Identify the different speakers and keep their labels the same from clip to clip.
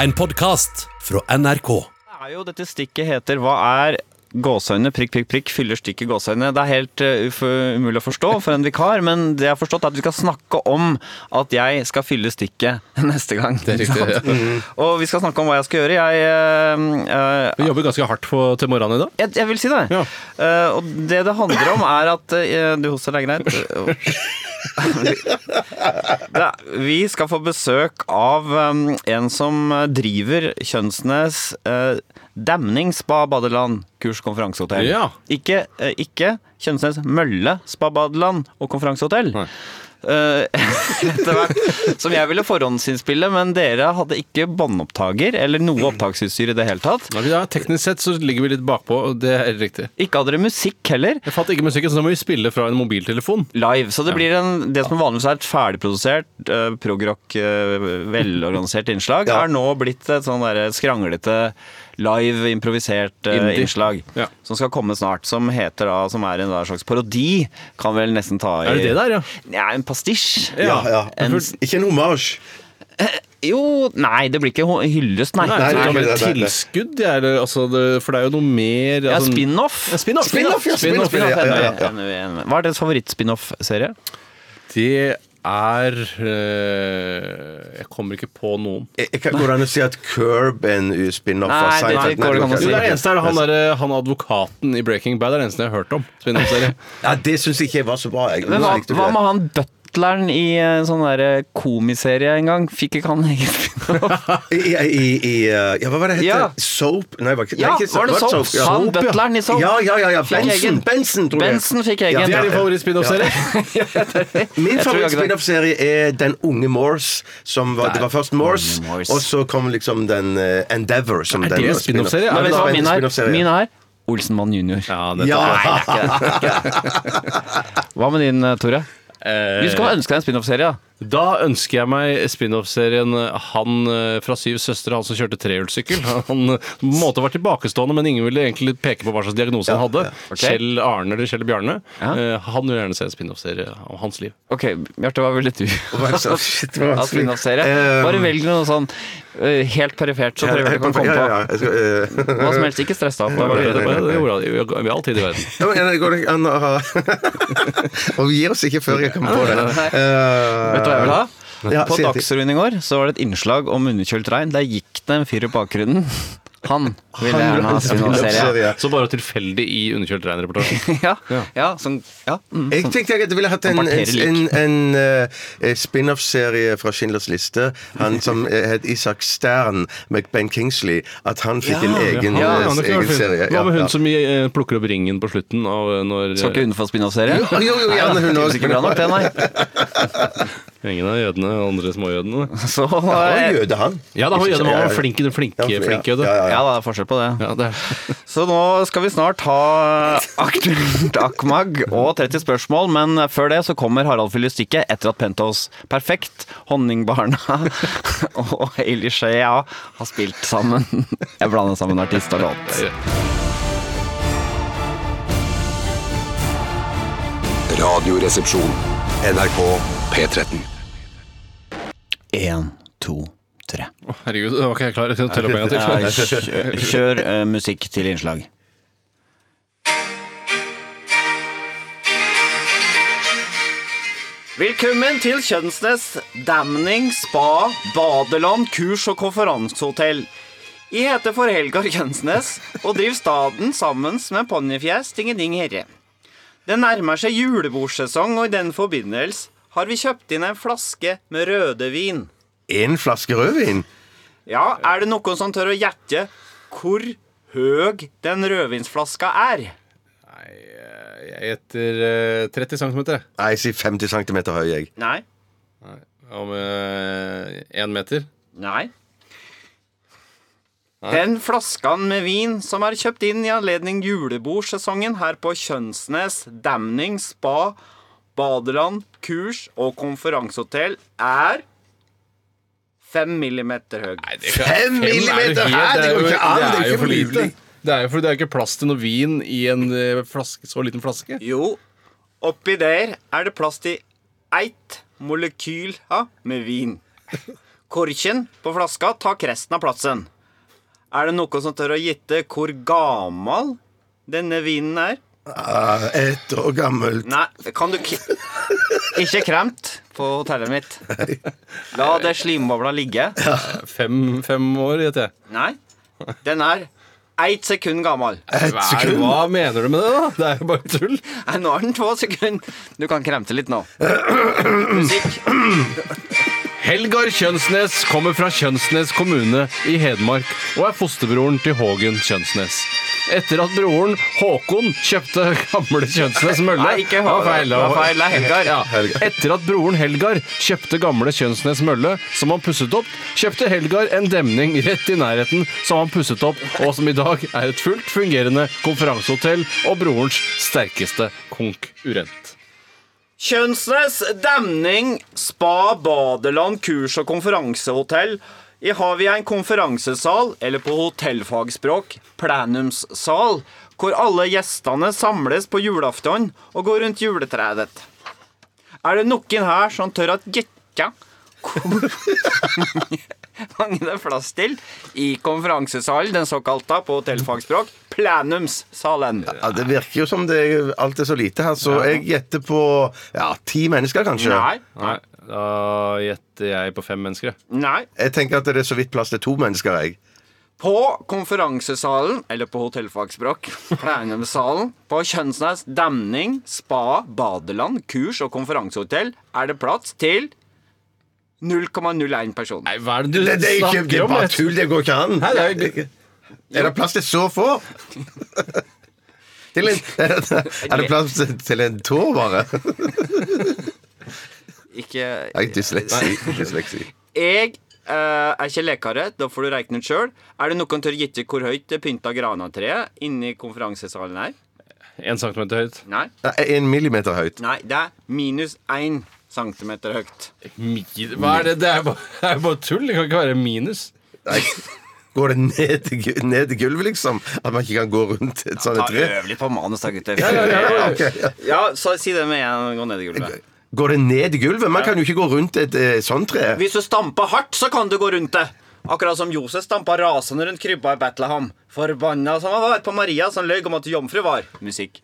Speaker 1: En podcast fra NRK
Speaker 2: Det er jo, dette stikket heter Hva er gåseøyne? Prikk, prikk, prikk. Fyller stikket gåseøyne? Det er helt eh, uf- umulig å forstå for en vikar, men det jeg har forstått, er at vi skal snakke om at jeg skal fylle stikket neste gang.
Speaker 3: Det er riktig. ja.
Speaker 2: Og vi skal snakke om hva jeg skal gjøre. Jeg, eh, eh,
Speaker 3: Vi jobber ganske hardt på, til morgenen i dag.
Speaker 2: jeg, jeg vil si det.
Speaker 3: Ja.
Speaker 2: Eh, og det det handler om, er at eh, Du hoster, det er greit. det, er- vi skal få besøk av eh, en som driver Kjønsnes uh, Damning spa badeland kurs konferansehotell.
Speaker 3: Ja.
Speaker 2: Ikke, eh, ikke Kjønsnes Mølle spa badeland og konferansehotell. Eh, etter hvert som jeg ville forhåndsinnspille, men dere hadde ikke båndopptaker eller noe opptaksutstyr i det hele tatt.
Speaker 3: Ja, vi- Ja, teknisk sett så ligger vi litt bakpå, og det er riktig.
Speaker 2: Ikke hadde dere musikk heller.
Speaker 3: Jeg fatter ikke musikken, så da må vi spille fra en mobiltelefon.
Speaker 2: live. Så det blir en, det som vanligvis er et ferdigprodusert, uh, progrock, eh, velorganisert innslag,
Speaker 1: Ja.
Speaker 2: er nå blitt et sånn derre skranglete, live, improvisert eh,
Speaker 3: Indie.
Speaker 2: innslag.
Speaker 3: Ja.
Speaker 2: Som skal komme snart. Som heter da, som er en da slags parodi, kan vel nesten ta i
Speaker 3: Er det det der, ja?
Speaker 2: Ja, en pastisj.
Speaker 1: Ja, ja
Speaker 2: En,
Speaker 1: Ikke en hommage
Speaker 2: jo, nei, det blir ikke ho- hyllest, nei.
Speaker 3: Nei,
Speaker 1: Nei,
Speaker 3: det er
Speaker 1: nei,
Speaker 3: bare
Speaker 1: nei, nei, nei.
Speaker 3: tilskudd, ja, eller, altså, det, for det er jo noe mer
Speaker 2: Ja,
Speaker 3: altså,
Speaker 2: spin-off.
Speaker 3: Ja, spin-off.
Speaker 1: Spin-off, ja, spin-off,
Speaker 3: spin-off,
Speaker 1: ja, ja, ja, ja.
Speaker 2: Enig, enig, enig. Hva er deres favoritt-spin-off-serie?
Speaker 3: Det er eh, Jeg kommer ikke på noen.
Speaker 1: Jeg- jeg kan- Går det an å si at Curb er en spin-off
Speaker 2: Nei,
Speaker 1: av
Speaker 2: det
Speaker 1: Seinfeld?
Speaker 2: går ikke an å
Speaker 1: kan
Speaker 3: Jo,
Speaker 1: jeg
Speaker 3: det
Speaker 1: ikke.
Speaker 3: er eneste er han, der, eh, han advokaten i Breaking Bad. Det er det eneste jeg har hørt om. Spin-off-serie.
Speaker 1: Ja, det syns jeg ikke var så bra. Jeg.
Speaker 2: Men hva,
Speaker 1: Jeg likte
Speaker 2: hva
Speaker 1: det.
Speaker 2: med han butleren i en sånn der komiserie en gang? Fikk ikke han egen spin-off?
Speaker 1: I, i, i uh, Ja, hva var det hette?
Speaker 2: Ja.
Speaker 1: Soap? Nei, var, ikke-
Speaker 2: Ja,
Speaker 1: nei, ikke
Speaker 2: var det Soap?
Speaker 1: Ja.
Speaker 2: Han butleren i Soap.
Speaker 1: Ja, ja, ja, ja.
Speaker 2: Fikk
Speaker 1: Benson,
Speaker 2: egen.
Speaker 1: Benson, tror jeg.
Speaker 2: Benson fikk egen.
Speaker 1: Ja,
Speaker 3: Det er din favoritt-spin-off-serie?
Speaker 1: Min
Speaker 2: Jeg tror ikke det.
Speaker 1: favoritt-spin-off-serie er Den unge Morse. Som var, det var først Morse,
Speaker 2: Unge Morse.
Speaker 1: og så kom liksom den eh, Endeavor. Som
Speaker 3: Er
Speaker 1: den
Speaker 3: det en
Speaker 1: var
Speaker 3: spin-off-serie?
Speaker 2: Nei,
Speaker 3: Ja,
Speaker 1: spin-off.
Speaker 2: vet du hva
Speaker 1: det
Speaker 2: min
Speaker 1: var en
Speaker 2: er?
Speaker 1: spin-off-serie.
Speaker 2: Min er Olsenmann junior.
Speaker 3: Ja,
Speaker 1: dette- Ja.
Speaker 2: Nei, det er ikke det. det, er ikke det. Hva med din, eh, Tore?
Speaker 1: Eh,
Speaker 2: Vi skal ønske deg en spin-off-serie. da.
Speaker 3: Da ønsker jeg meg spin-off-serien Han eh, fra Syv søstre, han som kjørte trehjulssykkel. Han eh, på en måte var tilbakestående, men ingen ville egentlig peke på hva slags diagnose han hadde.
Speaker 2: Ok.
Speaker 3: Kjell Arne eller Kjell Bjarne.
Speaker 2: Ja.
Speaker 3: Eh, Han vil gjerne se en spin-off-serie om hans liv.
Speaker 2: Ok, Bjarte, hva ville du
Speaker 1: Hva er det så- shit, det var
Speaker 2: ha
Speaker 1: vanskelig.
Speaker 2: spin-off-serie?
Speaker 1: Eh,
Speaker 2: Bare velg noe sånn eh, helt perifert, så
Speaker 1: ja,
Speaker 2: prøver du kan
Speaker 1: ja,
Speaker 2: komme
Speaker 1: ja,
Speaker 2: på.
Speaker 1: ja, jeg skal, eh,
Speaker 2: Hva som helst, ikke stress deg
Speaker 3: Det,
Speaker 2: opp.
Speaker 3: det, det, det gjorde han. Vi har- Vi har all tid i verden.
Speaker 1: Ja, men, går det ikke an å ha Og vi gir oss ikke før jeg kommer på det.
Speaker 2: Nei.
Speaker 1: Eh,
Speaker 2: Vet du hva jeg vil ha?
Speaker 1: Ja,
Speaker 2: På
Speaker 1: si det.
Speaker 2: Dagsrevyen i går så var det et innslag om underkjølt regn. Der gikk det en fyr i bakgrunnen. Han ville
Speaker 1: Han
Speaker 2: gjerne ha
Speaker 1: ville ha en
Speaker 2: spin-off-serie.
Speaker 1: spin-off-serie.
Speaker 3: Så bare tilfeldig i underkjølt regnreportasje.
Speaker 2: Ja, ja, sånn, ja. Mm.
Speaker 1: Jeg tenkte jeg at jeg ville hatt en,
Speaker 2: Han
Speaker 1: en,
Speaker 2: parterer lik.
Speaker 1: en, en eh, spin-off-serie fra Schindlers liste. Han som eh, het Isak Stern med Ben Kingsley. At han fikk en egen,
Speaker 3: Ja,
Speaker 1: eh,
Speaker 3: han er klar
Speaker 1: egen
Speaker 3: for-
Speaker 1: serie.
Speaker 3: Hva med
Speaker 1: ja.
Speaker 3: hun som eh, plukker opp ringen på slutten av eh, når
Speaker 2: Skal ikke hun få spin-off-serie?
Speaker 1: Jo, jo, jo, gjerne hun
Speaker 2: Nei,
Speaker 1: også.
Speaker 2: det er Ikke bra nok, det, nei.
Speaker 3: Ingen av eh, jødene, andre småjødene.
Speaker 2: Så
Speaker 1: Han var
Speaker 2: eh,
Speaker 1: jøde, han.
Speaker 3: Ja, da var jødene
Speaker 1: Ja,
Speaker 3: var
Speaker 1: ja.
Speaker 3: flink, flinke,
Speaker 1: Ja,
Speaker 3: flinke
Speaker 1: ja,
Speaker 3: jøde.
Speaker 1: ja,
Speaker 2: ja, det er forskjell på det.
Speaker 3: Ja, det er.
Speaker 2: Så nå skal vi snart ha Aktuelt Akmag og 30 spørsmål, men før det så kommer Harald fyller stikket etter at Pentos Perfekt, Honningbarna og Elishea har spilt sammen. Jeg blander sammen artist og låt.
Speaker 4: Radioresepsjon. NRK P13.
Speaker 2: Én, to, tre.
Speaker 3: Herregud, da var ikke jeg klar til å telle opp en gang til.
Speaker 2: kjør kjør eh, musikk til innslag. Velkommen til Kjønnsnes damning, spa, badeland, kurs og konferansehotell. Jeg heter for Helgar Kjønnsnes og driver staden sammen med Ponnifjes Tingeding Herre. Det nærmer seg julebordsesong, og i den forbindelse har vi kjøpt inn en flaske med rødevin.
Speaker 1: En flaske rødvin?
Speaker 2: Ja, er det noen som tør å gjette hvor høg den rødvinsflaska er?
Speaker 3: Nei, jeg gjetter eh, 30 cm.
Speaker 1: Nei, jeg sier 50 cm høy, jeg.
Speaker 2: Nei.
Speaker 3: Om én meter.
Speaker 2: Nei. Den flaskan med vin som er kjøpt inn i anledning julebordsesongen her på Kjønsnes, Damning, spa, badeland, kurs og konferansehotell, er fem millimeter høy.
Speaker 1: Fem millimeter! Hæ, det går ikke an! Det er jo for lite.
Speaker 3: Det er jo fordi det er ikke plass til noe vin i en eh, flaske, så liten flaske.
Speaker 2: Jo, oppi der er det plass til eitt molekyl ja, med vin. korken på flaska tar resten av plassen. Er det noen som tør å gjette hvor gammel denne vinen er?
Speaker 1: Ah, ett år gammelt.
Speaker 2: Nei, kan du ikke Ikke kremt på hotellet mitt. La det slimbobla ligge.
Speaker 3: Fem, fem år, gjetter jeg.
Speaker 2: Nei. Den er ett sekund gammel.
Speaker 1: Ett
Speaker 3: Hva, er,
Speaker 1: sekund.
Speaker 3: hva mener du med det, da? Det er jo bare tull.
Speaker 2: Nei, nå er den to sekunder. Du kan kremte litt nå. Musikk.
Speaker 3: Helgar Kjønsnes kommer fra Kjønsnes kommune i Hedmark og er fosterbroren til Hågen Kjønsnes. Etter at broren Håkon kjøpte gamle Kjønsnes mølle
Speaker 2: Nei, ikke
Speaker 3: Det var
Speaker 2: Håkon.
Speaker 3: feil,
Speaker 2: Det var feil, det er Helgar.
Speaker 3: Ja. Etter at broren Helgar kjøpte gamle Kjønsnes mølle, som han pusset opp, kjøpte Helgar en demning rett i nærheten som han pusset opp, og som i dag er et fullt fungerende konferansehotell og brorens sterkeste konkurrent.
Speaker 2: Kjønsnes, demning, spa, badeland, kurs- og konferansehotell. I har vi en konferansesal, eller på hotellfagspråk, plenumssal, hvor alle gjestene samles på julaften og går rundt juletreet. Er det noen her som tør at gjette hvor mange det er plass til i konferansesalen, den såkalte på hotellfagspråk, plenumssalen?
Speaker 1: Ja, det virker jo som det er, alt er så lite her, så jeg gjetter på ja, ti mennesker, kanskje.
Speaker 2: Nei.
Speaker 3: Nei, da gjetter jeg på fem mennesker, jeg.
Speaker 2: Nei.
Speaker 1: Jeg tenker at det er så vidt plass til to mennesker, jeg.
Speaker 2: På konferansesalen, eller på hotellfagspråk, plenumssalen, på Kjønsnes demning, spa, badeland, kurs og konferansehotell er det plass til 0,01 person.
Speaker 3: Nei, hva er det du
Speaker 1: Det, det er ikke det
Speaker 3: snakker
Speaker 1: er
Speaker 3: om?
Speaker 1: bare
Speaker 3: Jeg-
Speaker 1: tull. Det går ikke an.
Speaker 3: Nei, det er jo-
Speaker 1: Er det plass til så få? Til en, er det plass til- til en tå, bare?
Speaker 2: Ikke
Speaker 1: Nei, dysleksi. dysleksi.
Speaker 2: Jeg eh, er ikke lekare, da får du regne ut sjøl. Er det noen tør gjette hvor høyt det pynta granatreet inni konferansesalen er?
Speaker 3: En centimeter høyt.
Speaker 2: Nei.
Speaker 1: Nei, En millimeter høyt.
Speaker 2: Nei, det er minus én centimeter høyt.
Speaker 3: Mi- Hva er det? Det er jo bare, det er jo bare tull. Det kan ikke være minus.
Speaker 1: Nei. Går det ned i gu- ned i gulvet, liksom? At man ikke kan gå rundt et sånt
Speaker 2: Ta
Speaker 1: tre?
Speaker 2: øv litt på manus, da, gutter.
Speaker 1: Ok, ja.
Speaker 2: Ja, så si det med en gang ned i gulvet.
Speaker 1: Går det ned i gulvet? Man kan jo ikke gå rundt et eh, sånt tre.
Speaker 2: Hvis du stamper hardt, så kan du gå rundt det. Akkurat som Josef stampa rasende rundt krybba i Betlehem. Forbanna som han var på Maria, som løy om at jomfru var. Musikk.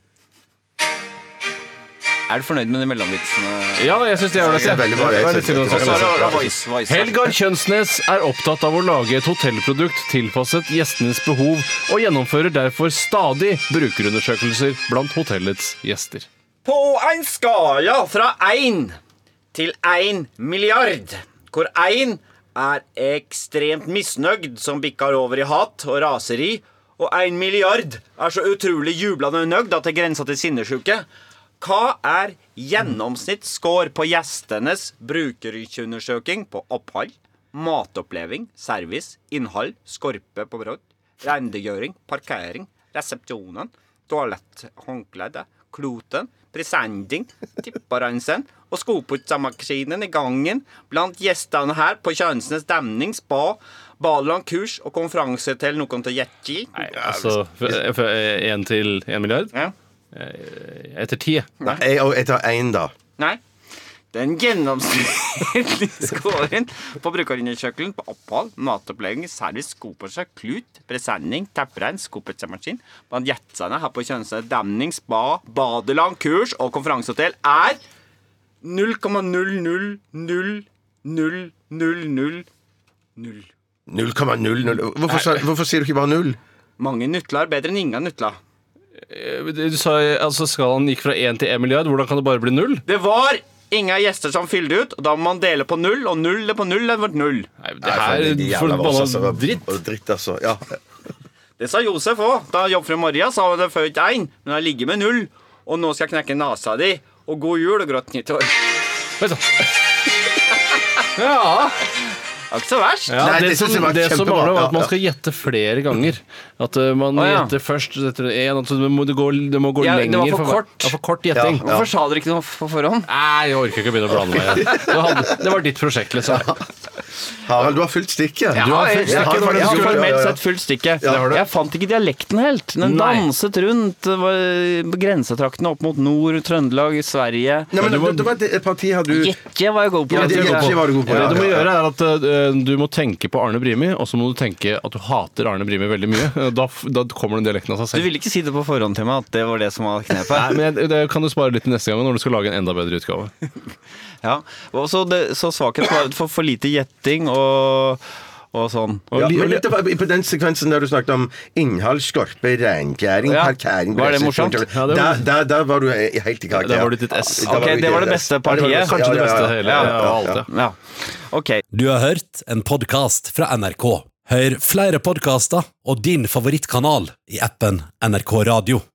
Speaker 2: Er du fornøyd med de mellomvitsene?
Speaker 3: Ja, jeg syns det er ålreit.
Speaker 1: Det er veldig bra, jeg
Speaker 3: Vær litt
Speaker 1: synes det er
Speaker 3: seriøs.
Speaker 1: bra.
Speaker 2: Voice, voice.
Speaker 3: Helgar Kjønsnes er opptatt av å lage et hotellprodukt tilpasset gjestenes behov, og gjennomfører derfor stadig brukerundersøkelser blant hotellets gjester.
Speaker 2: På en skala fra én til én milliard, hvor én er ekstremt misnøyd, som bikker over i hat og raseri, og én milliard er så utrolig jublende nøyd at det grenser til sinnessyke, hva er gjennomsnittsscore på gjestenes brukerundersøking på opphold, matoppleving, service, innhold, skorpe på brød, rendegjøring, parkering, resepsjonen, toaletthåndkledde, kloten, presenting, tipparensen og skoputsamaskinen i gangen blant gjestene her på Kjønsnes demning, spa, badeland, kurs og konferanse til noen til Jetji.
Speaker 3: Altså én til én milliard?
Speaker 2: Ja.
Speaker 3: Etter ti.
Speaker 1: Nei, jeg, og jeg tar én, da.
Speaker 2: Nei. Den gjennomsnittlige scoren på brukerundersøkelsen på opphold, matopplegging, service, skopåse, klut, presenning, tepperegn, skopetsemaskin, blant gjetsene her på Kjønsnes, demning, spa, badeland, kurs og konferansehotell er 0,0000000.
Speaker 1: 0,00 hvorfor, sa- hvorfor sier du ikke bare null?
Speaker 2: Mange nutler er bedre enn ingen nutler.
Speaker 3: Du sa altså skalaen gikk fra én til én milliard. Hvordan kan det bare bli null?
Speaker 2: Det var ingen gjester som fylte ut, og da må man dele på null, og null er på null, det ble null.
Speaker 3: Nei, det her er forbanna dritt.
Speaker 1: dritt altså. Ja.
Speaker 2: Det sa Josef òg. Da jobbfru Maria sa hun det født én, men har ligget med null. Og nå skal jeg knekke nesa di. Og god jul og godt nyttår. Det
Speaker 3: Vet du. Ja,
Speaker 2: er ikke så verst.
Speaker 3: ja
Speaker 1: Nei,
Speaker 3: Det
Speaker 1: det
Speaker 3: som,
Speaker 1: synes jeg var
Speaker 3: det som
Speaker 1: kjempebra.
Speaker 3: mangler, var
Speaker 1: Ja,
Speaker 3: at man
Speaker 1: ja.
Speaker 3: skal gjette flere ganger. At uh, man
Speaker 2: Å, ja.
Speaker 3: gjetter først etter en, altså, det, må, det, går, det må gå
Speaker 2: Ja, det
Speaker 3: lenger.
Speaker 2: var for
Speaker 3: hver-
Speaker 2: kort.
Speaker 3: Ja, for kort gjetting.
Speaker 2: Hvorfor sa dere ikke noe på forhånd?
Speaker 3: Nei, jeg orker ikke å begynne å blande meg igjen. Det, hadde, det var ditt prosjekt, liksom.
Speaker 1: Harald, du har fylt stikket.
Speaker 2: Ja,
Speaker 1: Du har
Speaker 2: jeg, jeg,
Speaker 1: fylt stikket,
Speaker 2: har
Speaker 1: for det skulle- ja,
Speaker 2: formelt
Speaker 1: ja, ja.
Speaker 2: sett fullt stikket.
Speaker 1: Ja, har du?
Speaker 2: Jeg fant ikke dialekten helt. Den
Speaker 3: Nei.
Speaker 2: danset rundt det var på grensetraktene opp mot nord, Trøndelag, Sverige.
Speaker 1: Nei, men det, det var et parti her du
Speaker 2: Gjetje var jeg god på.
Speaker 1: Ja, det-
Speaker 2: vet du.
Speaker 1: gjetje var du god på,
Speaker 3: Det
Speaker 1: ja.
Speaker 3: du må gjøre, er at uh, eh, du må tenke på Arne Brimi, og så må du tenke at du hater Arne Brimi veldig mye. Eh, Da, f- da kommer den dialekten av seg
Speaker 2: Du
Speaker 3: selv.
Speaker 2: ville ikke si det på forhånd til meg, at det var det som var knepet.
Speaker 3: Nei, men jeg- Det kan du spare litt til neste gang når du skal lage en enda bedre utgave.
Speaker 2: Ja, og så, det, så svakheten var for, for lite gjetting og, og sånn.
Speaker 3: Og
Speaker 1: Ja,
Speaker 3: li-
Speaker 1: men dette var på den sekvensen der du snakket om innhold, skorpe, reinkjæring,
Speaker 2: Ja.
Speaker 1: parkering
Speaker 2: Var det morsomt?
Speaker 3: Ja, det var-
Speaker 1: Da, da, da var du i- helt i karakter.
Speaker 3: Da var du ditt S.
Speaker 1: Da
Speaker 2: Ok,
Speaker 1: var du
Speaker 2: det
Speaker 1: ditt
Speaker 2: var det
Speaker 1: S.
Speaker 2: beste
Speaker 1: Ja, det var det
Speaker 2: partiet.
Speaker 1: beste.
Speaker 3: Kanskje det
Speaker 1: Ja, ja,
Speaker 3: beste
Speaker 1: ja.
Speaker 3: hele.
Speaker 1: Ja, ja,
Speaker 3: av alt,
Speaker 1: ja.
Speaker 2: Ja,
Speaker 3: ja.
Speaker 2: ok.
Speaker 5: Du har hørt en podkast fra NRK. Hør flere podkaster og din favorittkanal i appen NRK Radio.